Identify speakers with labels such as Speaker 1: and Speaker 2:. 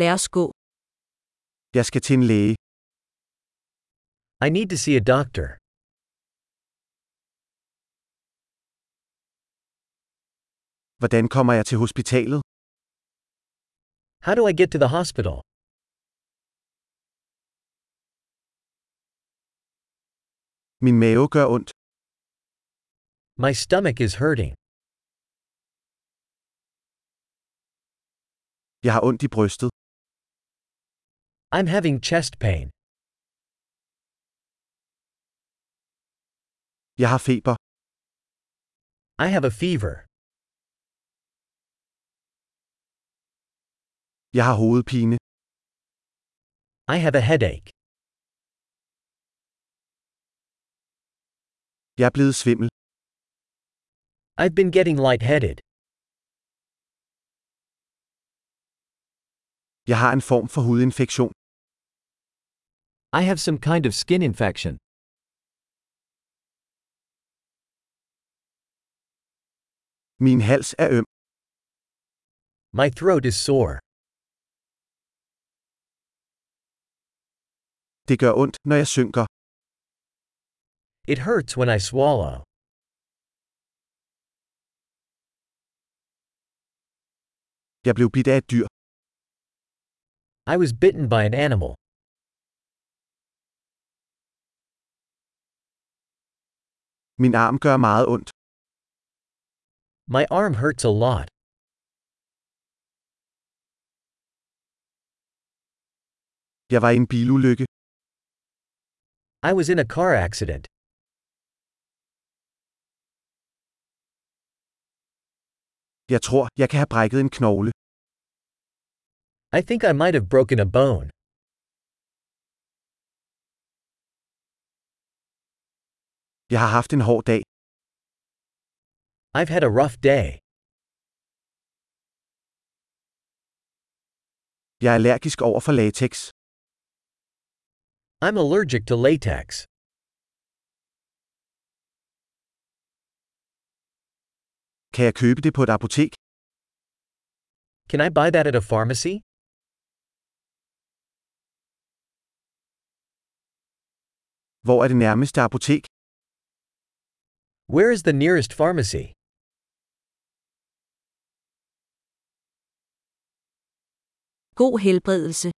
Speaker 1: Lad os gå.
Speaker 2: Jeg skal til en læge.
Speaker 3: I need to see a doctor.
Speaker 2: Hvordan kommer jeg til hospitalet?
Speaker 3: How do I get to the hospital?
Speaker 2: Min mave gør ondt.
Speaker 3: My stomach is hurting.
Speaker 2: Jeg har ondt i brystet.
Speaker 3: I'm having chest pain.
Speaker 2: Jeg har feber.
Speaker 3: I have a fever.
Speaker 2: Jeg har hovedpine.
Speaker 3: I have a headache.
Speaker 2: Jeg er blevet svimmel.
Speaker 3: I've been getting lightheaded.
Speaker 2: Jeg har en form for hudinfektion.
Speaker 3: I have some kind of skin infection.
Speaker 2: Min hals er øm.
Speaker 3: My throat is sore.
Speaker 2: Det gør ondt, når jeg synker.
Speaker 3: It hurts when I swallow.
Speaker 2: Jeg blev bidt af et dyr.
Speaker 3: I was bitten by an animal.
Speaker 2: Min arm gør meget ondt.
Speaker 3: My arm hurts a lot.
Speaker 2: Jeg var i en bilulykke.
Speaker 3: I was in a car accident.
Speaker 2: Jeg tror, jeg kan have brækket en knogle.
Speaker 3: I think I might have broken a bone.
Speaker 2: Jeg har haft en hård dag.
Speaker 3: I've had a rough day.
Speaker 2: Jeg er allergisk over for latex.
Speaker 3: I'm allergic to latex.
Speaker 2: Kan jeg købe det på et apotek?
Speaker 3: Can I buy that at a pharmacy?
Speaker 2: Hvor er det nærmeste apotek?
Speaker 3: Where is the nearest pharmacy?
Speaker 1: God helbredelse.